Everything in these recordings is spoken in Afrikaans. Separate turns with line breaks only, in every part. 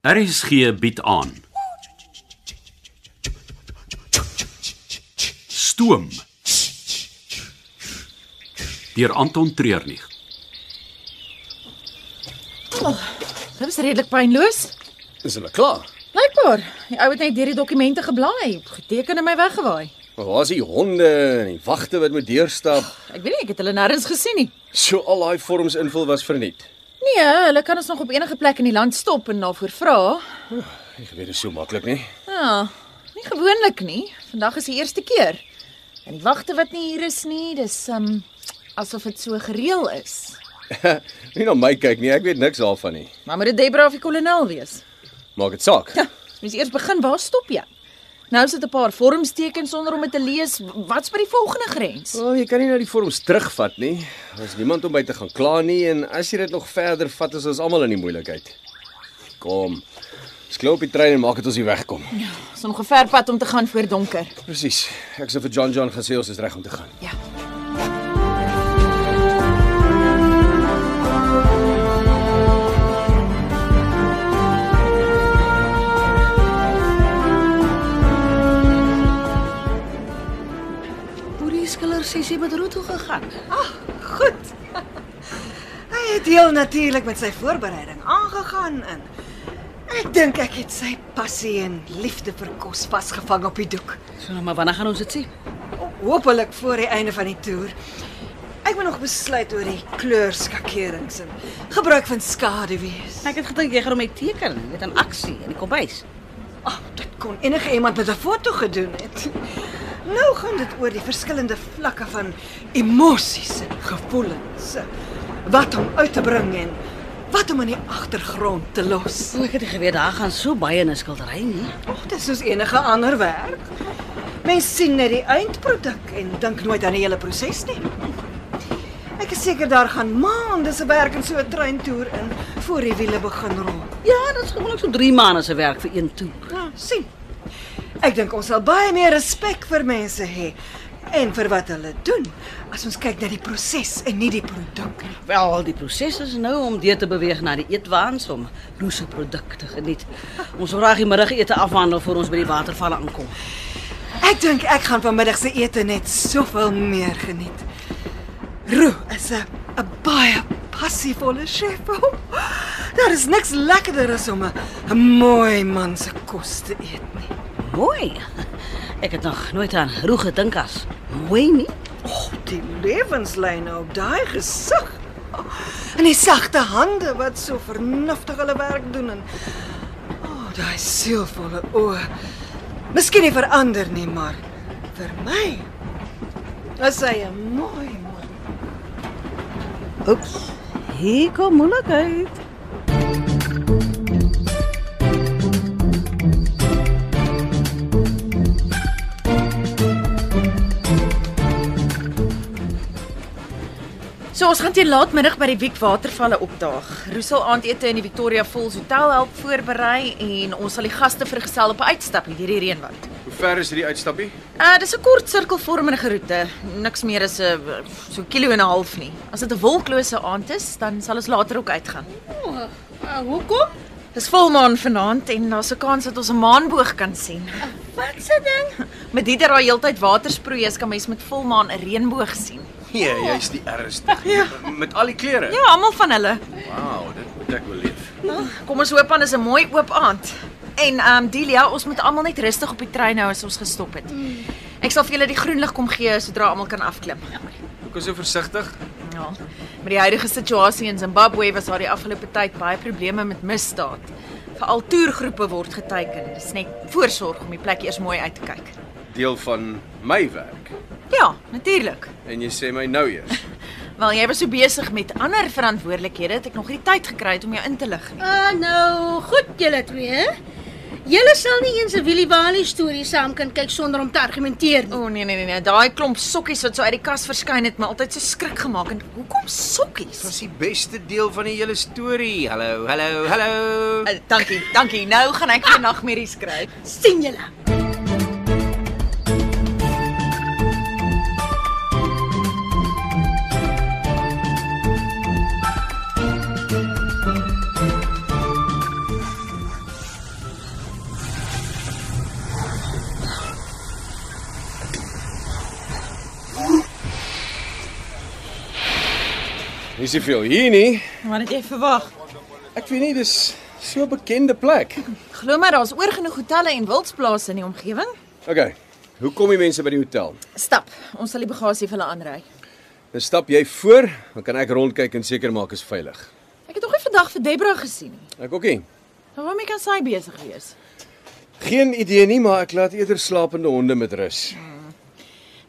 RSG bied aan. Stoom. Deur Anton Treurnig.
Dit was redelik pynloos.
Is hulle klaar?
Blykbaar. Die ou het net deur die dokumente geblaai, geteken en my weggewaai.
Maar waar is die honde en die wagte wat moet deurstap?
Ek weet nie, ek het hulle nêrens gesien nie.
So al daai vorms invul was verniet.
Nee, hulle kan ons nog op enige plek in die land stop en daarvoor vra.
Ek weet dit is so maklik nie.
Ja, nie gewoonlik nie. Vandag is die eerste keer. En die wagte wat nie hier is nie, dis um asof dit so gereël is.
nie na my kyk nie, ek weet niks daarvan nie.
Maar moet dit Debra of die kolonel wees?
Maak dit saak.
Mens eers begin, waar stop jy? Nou sit 'n paar vorms teken sonder om dit te lees. Wat's by die volgende grens?
Wel, jy kan nie nou die vorms terugvat nie. Daar's niemand om by te gaan kla nie en as jy dit nog verder vat, is ons almal in die moeilikheid. Kom. Sklop op die trein en maak dit ons hier wegkom.
Ons nog 'n ver pad om te gaan voor donker.
Presies. Ek sê vir John John gesê ons is reg om te gaan.
Ja.
Boerie skiller sê sy met Roet toe gegaan.
Goed. Hy het heel natuurlik met sy voorbereiding aangegaan en ek dink ek het sy passie en liefde vir kos vasgevang op die doek.
So maar wanneer gaan ons dit sien?
Hoopelik voor die einde van die toer. Ek moet nog besluit oor die kleurskakerings en gebruik van skaduwees.
Ek het gedink jy gaan hom met teken, met 'n aksie in die kombuis.
Ag, oh, dit kon enige iemand met 'n foto gedoen het. Nou gaan dit oor die verskillende vlakke van emosies en gevoelens. Wat om uit te bring en wat om in die agtergrond te los.
O, ek het nie geweet daar gaan so baie in 'n skildery nie.
Och, dis soos enige ander werk. Mens sien net die eindproduk en dink nooit aan die hele proses nie. Ek is seker daar gaan maande se werk in so 'n treintoer in voor die wiele begin rol.
Ja, dit is gewoonlik so 3 maande se werk vir een toer.
Ja, sien. Ek dink ons sal baie meer respek vir mense hê en vir wat hulle doen as ons kyk na die proses en nie die produk nie.
Wel, die proses is nou om deur te beweeg na die eetwaans om loose produkte geniet. Ons wil graag die middagete afhandel voor ons by die watervalle aankom.
Ek dink ek gaan vanmiddag se ete net soveel meer geniet. Roo is 'n 'n baie passievolle chef. Oh, daar is niks lekkerder as om 'n 'n mooi man se kos te eet nie.
Mooi. Ek het nog nooit aan roeg gedink as. Mooi nie?
O, die lewenslyne op daai gesig. Oh, en die sagte hande wat so vernuftig hulle werk doen en o, oh, daai sielvolle oë. Miskien nie vir ander nie, maar vir my is hy 'n mooi man.
Oeps. Hier kom moeilikheid.
So ons gaan teen laatmiddag by die Wiek Watervalle opdaag. Roosel aandete in die Victoria Falls Hotel help voorberei en ons sal die gaste vergesel op 'n uitstappie deur die reënwoud.
Hoe ver is hierdie uitstappie?
Uh dis 'n kort sirkelvormige roete. Niks meer as 'n so kilo en 'n half nie. As dit 'n wolklose aand is, dan sal ons later ook uitgaan.
Uh, hoekom?
Dis volmaan vanaand en daar's 'n kans dat ons 'n maanboog kan sien.
Wat se ding?
Met dit dat daar heeltyd watersproei is, kan mens met volmaan 'n reënboog sien.
Nee, jy's die ernstig. Ja. Met al die klere.
Ja, almal van hulle.
Wow, dit moet ek wel leef.
Kom ons hoop aan is 'n mooi oop aand. En ehm um, Delia, ons moet almal net rustig op die trein hou as ons gestop het. Ek sal vir julle die groen lig kom gee sodra almal kan afklim.
Hoe kom so versigtig?
Ja. Met die huidige situasie in Zimbabwe was daar die afgelope tyd baie probleme met misdaad. Veral toergroepe word geteiken. Dis net voorsorg om die plek eers mooi uit te kyk.
Deel van my werk.
Ja, natuurlik.
En jy sê my nou eers.
Wel, jy was so besig met ander verantwoordelikhede dat ek nog nie die tyd gekry het om jou in te lig nie.
Ah nou, goed julle twee. hè? Julle sal nie eens 'n Willy Wally storie saam kan kyk sonder om te argumenteer nie.
O oh, nee nee nee nee, daai klomp sokkies wat so uit die kas verskyn het, my altyd so skrik gemaak. En hoekom sokkies?
Dis die beste deel van die hele storie. Hallo, hallo, hallo.
Uh, dankie, dankie. Nou gaan ek weer nagmerries kry.
sien julle.
Dis nie veel hier nie.
Wat het jy verwag?
Ek weet nie, dis so 'n bekende plek.
Glo my daar's oor genoeg hotelle en wildsplase in die omgewing.
Okay. Hoe kom die mense by die hotel?
Stap, ons sal die bagasie vir hulle aanry.
Dan stap jy voor, dan kan ek rondkyk en seker maak is veilig.
Ek het nog nie vandag vir Debra gesien nie.
Ek ook nie.
Nou waarmee kan sy besig wees?
Geen idee nie, maar ek laat eerder slapende honde met rus.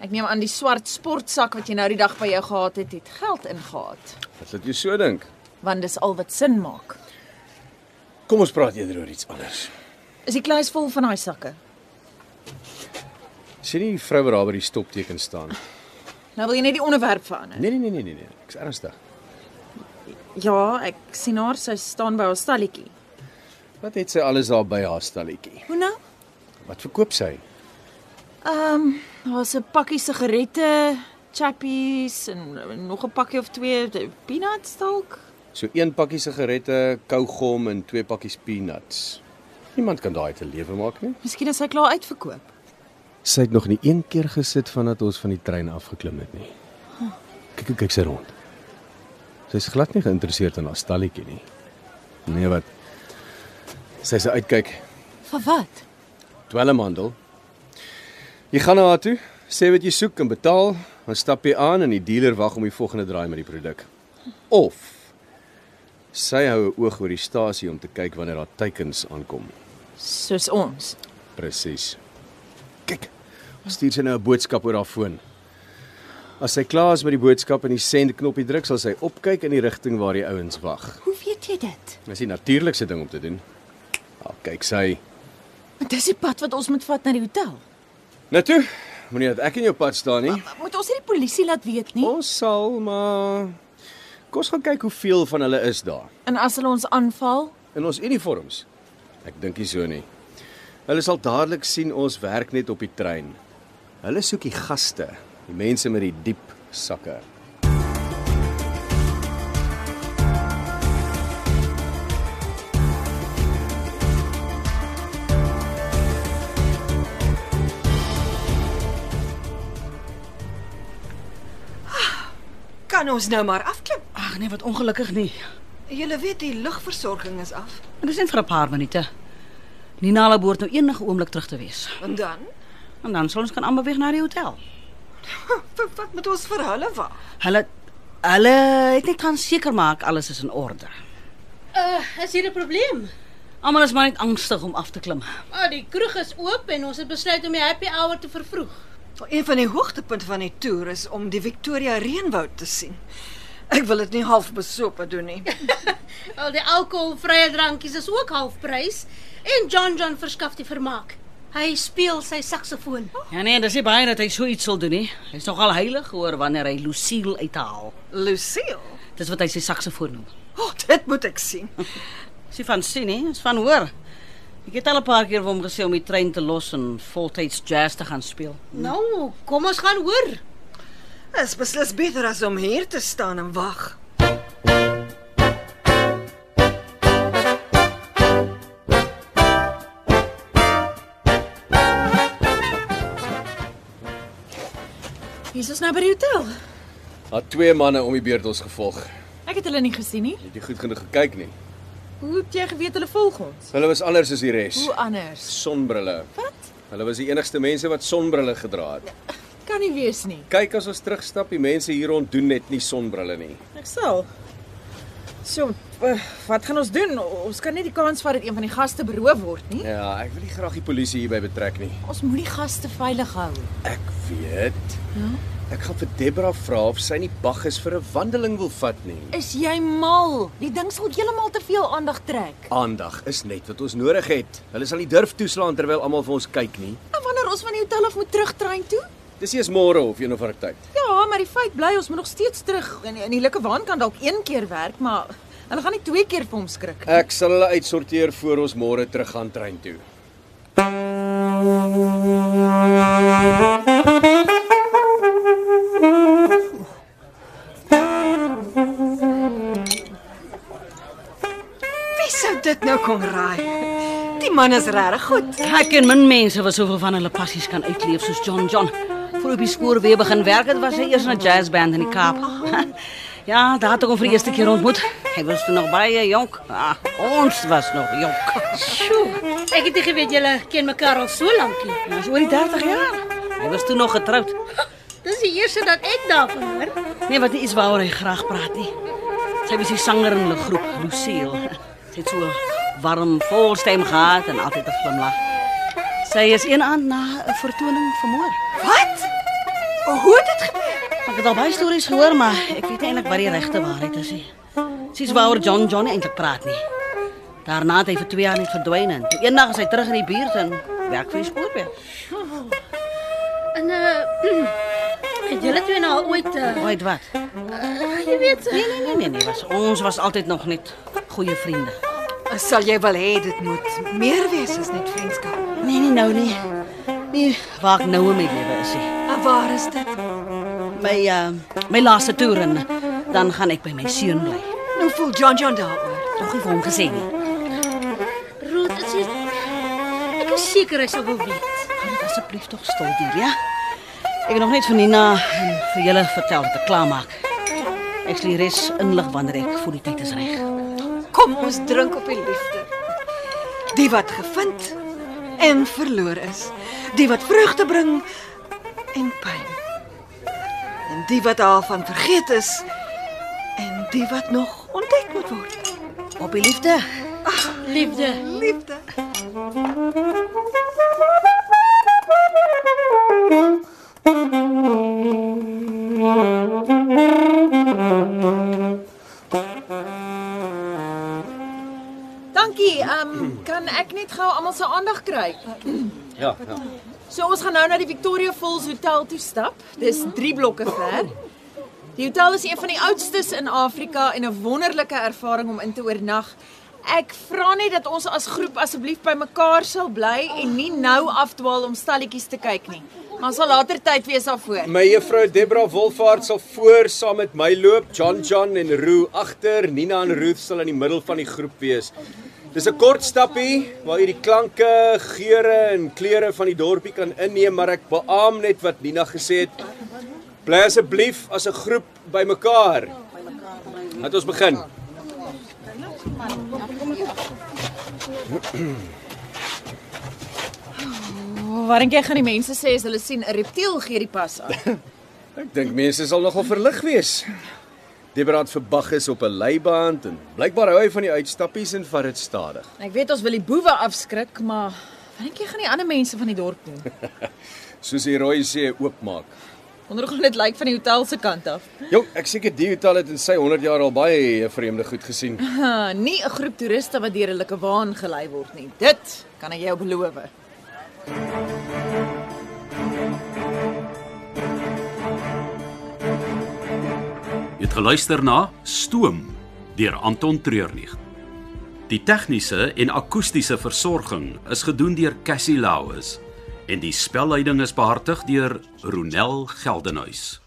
Ek neem aan die swart sportsak wat jy nou die dag by jou gehad het, het geld ingehaat,
Wat laat jou so dink?
want dis al wat sin maak.
Kom ons praat eerder oor iets anders.
Is die kluis vol van daai sakke?
Sien nie die vrou wat daar by die stopteken staan.
Nou wil jy net die onderwerp verander.
Nee nee nee nee nee, nee. ek's ernstig.
Ja, ek sien haar sy staan by haar stalletjie.
Wat het sy alles daar by haar stalletjie?
Hoe nou?
Wat verkoop sy?
Ehm, um, daar's 'n pakkie sigarette, chappies en eh, nog 'n pakkie of twee eh, peanuts dalk.
So een pakkie sigarette, kougom en twee pakkies peanuts. Niemand kan daai te lewe maak nie.
Miskien is hy klaar uitverkoop.
Sy het nog nie een keer gesit vandat ons van die trein afgeklim het nie. Kyk, kyk, kyk sy rond. Sy's glad nie geïnteresseerd in haar stalletjie nie. Nee, wat? Sy se uitkyk
Vir wat?
dwelmhandel. Jy gaan na haar toe, sê wat jy soek en betaal, dan stap jy aan en die dealer wag om die volgende draai met die produk. Of sy hou 'n oog oor die stasie om te kyk wanneer haar teikens aankom.
Soos ons.
Presies. Kyk. Ons stuur sy nou 'n boodskap oor haar foon. As sy klaar is met die boodskap en die send knoppie druk, sal sy opkyk in die rigting waar die ouens wag.
Hoe weet jy dit?
Dis die natuurlikste ding om te doen. Ah, kyk sy.
Want dis die pad wat ons moet vat na die hotel.
Nou toe. Moenie dat ek in jou pad staan nie.
Moet ons nie die polisie laat weet nie?
Ons sal maar Kom ons gaan kyk hoeveel van hulle is daar
En as hulle ons aanval,
in ons uniforms. Ek dink nie so nie. Hulle sal dadelik sien ons werk net op die trein. Hulle soek die gaste, die mense met die diep sakke.
Kan ons nou maar afklim?
Ag nee, wat ongelukkig nie.
Julle weet die lugversorging is af.
Dit is net vir 'n paar minute. Nina hulle behoort nou enige oomblik terug te wees.
En dan,
En dan sal ons kan aanbeweeg na die hotel.
wat wat moet ons vir hulle wag?
Hulle hulle het net gaan seker maak alles is in orde.
Uh, is hier 'n probleem?
Almal is maar net angstig om af te klim.
Ah, die kroeg is oop en ons het besluit om die happy hour te vervroeg.
Een van die hoogtepunte van die toer is om die Victoria Reënwoud te sien. Ek wil dit nie half besope doen nie.
Al die alkoholvrye drankies is ook halfprys en John John verskaf die vermaak. Hy speel sy saksofoon.
Ja nee, dis nie baie dat hy so iets sal doen nie. Hy's nogal heilig hoor wanneer hy Lucille uithaal.
Lucille,
Dis wat hy sy saksofoon noem.
oh, dit moet ek sien.
Sy van sien nie, is van hoor. Ek het al 'n paar keer vir hom gesê om die trein te los en voltyds jazz te gaan speel.
Nou, kom ons gaan hoor.
Dit is beslis beter as om hier te staan en wag.
hier's ons nou by die hotel.
Daar twee manne om die beurt ons gevolg.
Ek het hulle nie gesien nie.
Het jy goed genoeg gekyk nie?
Hoe het jy geweet hulle volg ons?
Hulle was anders as die res.
Hoe anders?
Sonbrille.
Wat? Ja.
Hulle was die enigste mense wat sonbrille gedra het.
Kan nie wees nie.
Kyk as ons terugstap, die mense hier rond doen net nie sonbrille nie.
Ek sal. So, eh, wat gaan ons doen? O- Ons kan nie die kans vat dat een van die gaste beroof word nie.
Ja, ek wil nie graag die polisie hierby betrek nie.
Ons moet die gaste veilig hou.
Ek weet. Ja. Ek gaan vir Debra vra of sy nie bag is vir 'n wandeling wil vat nie.
Is jy mal? Die ding sal heeltemal te veel aandag trek.
Aandag is net wat ons nodig het. Hulle sal nie durf toeslaan terwyl almal vir ons kyk nie.
En Nou, wanneer ons van die hotel af moet terugtrein toe?
Dis eers môre of een of ander tyd.
Ja, maar die feit bly ons moet nog steeds terug. En en die lekkewaan kan dalk een keer werk, maar hulle gaan nie twee keer vir hom skrik nie.
Ek sal hulle uitsorteer voor ons môre terug gaan trein toe.
Wie sou dit nou kon raai? Die man is regtig goed.
Ek ken min mense wat soveel van hulle passies kan uitleef soos John John. Voor op die skool weer begin werk het, was hy eers in 'n jazzband in die Kaap. Ja, daar het ek hom vir die eerste keer ontmoet. Hy was toe nog baie jonk. Ah, ons was nog jonk.
Sjoe, ek het nie geweet julle ken mekaar al so lank nie.
Hy was oor die 30 jaar. Hy was toe nog getroud.
Dis die eerste dat ek daarvan hoor.
Nee, wat nie iets waaroor hy graag praat nie. Sy was die sanger in 'n groep, Lucille. Sy het so 'n warm, vol stem gehad en altyd 'n glimlag. Sy is een aand na 'n vertoning vermoor.
Wat? Oh, Hoe het dit gebeur?
Ek het al baie stories gehoor, maar ek weet nie eintlik wat die regte waarheid is nie. Sies waaroor John John nie eintlik praat nie. Daarna het hy vir 2 jaar net verdwyn en toe eendag is hy terug in die buurt en werk vir die spoorweë.
En uh het julle twee nou al ooit uh,
Ooit wat?
uh, jy weet
Nee, nee, nee, nee, nee, was ons was altyd nog net goeie vriende.
Sal jy wel hê dit moet meer wees as net vriendskap?
Nee, nee, nou nie. Nee, waar ek nou in my lewe is. nie.
En waar is dit?
My uh, my laaste toer en eh, dan gaan ek by my seun bly.
Nou voel John John daaroor.
Nog nie vir hom gesê nie.
Ruth, dit is Ek is seker hy sal wil weet.
Hou dit asseblief tog stil hier, ja? Ek het nog net van Nina en vir julle vertel dat ek klaar maak. Ek sal die res inlig wanneer ek voel die tyd is reg.
Kom ons drink op die liefde. Die wat gevind en verloor is, die wat vreugde bring en pyn. En die wat daarvan vergeet is en die wat nog ontdek moet word.
Op die liefde.
Liefde.
Liefde.
Dankie. Ehm um, kan ek net gou almal se aandag kry?
Ja, ja.
So ons gaan nou na die Victoria Falls Hotel toe stap. Dis 3 blokke ver. Die hotel is een van die oudstes in Afrika en 'n wonderlike ervaring om in te oornag. Ek vra net dat ons as groep asseblief bymekaar sal bly en nie nou afdwaal om stalletjies te kyk nie. Ons sal later tyd wees daarvoor.
My juffrou Debra Wolfhard sal voor saam met my loop, John John en Roo agter, Nina en Ruth sal in die middel van die groep wees. Dis 'n kort stappie waar jy die klanke, geure en kleure van die dorpie kan inneem, maar ek beamoen net wat Nina gesê het. Bly asseblief as 'n groep bymekaar. Laat ons begin.
Waarink Oh, jy gaan die mense sê as hulle sien 'n reptiel gee die pas aan.
Ek dink mense sal nogal verlig wees. Debra het verbag is op 'n leiband en blykbaar hou hy van die uitstappies en vat dit stadig.
Ek weet ons wil die boewe afskrik, maar waarink jy gaan die ander mense van die dorp doen?
Soos die rooi see oopmaak.
Wonder hoe gaan dit lyk van die hotel se kant af?
Jong, ek seker die hotel het in sy 100 jaar al baie eh, vreemde goed gesien.
Ah, nie 'n groep toeriste wat deur 'n lekker waan gelei word nie. Dit kan ek jou beloof.
Jy het geluister na Stoom deur Anton Treurnig. Die tegniese en akoestiese versorging is gedoen deur Cassie Lauis en die spelleiding is behartig deur Ronel Geldenhuys.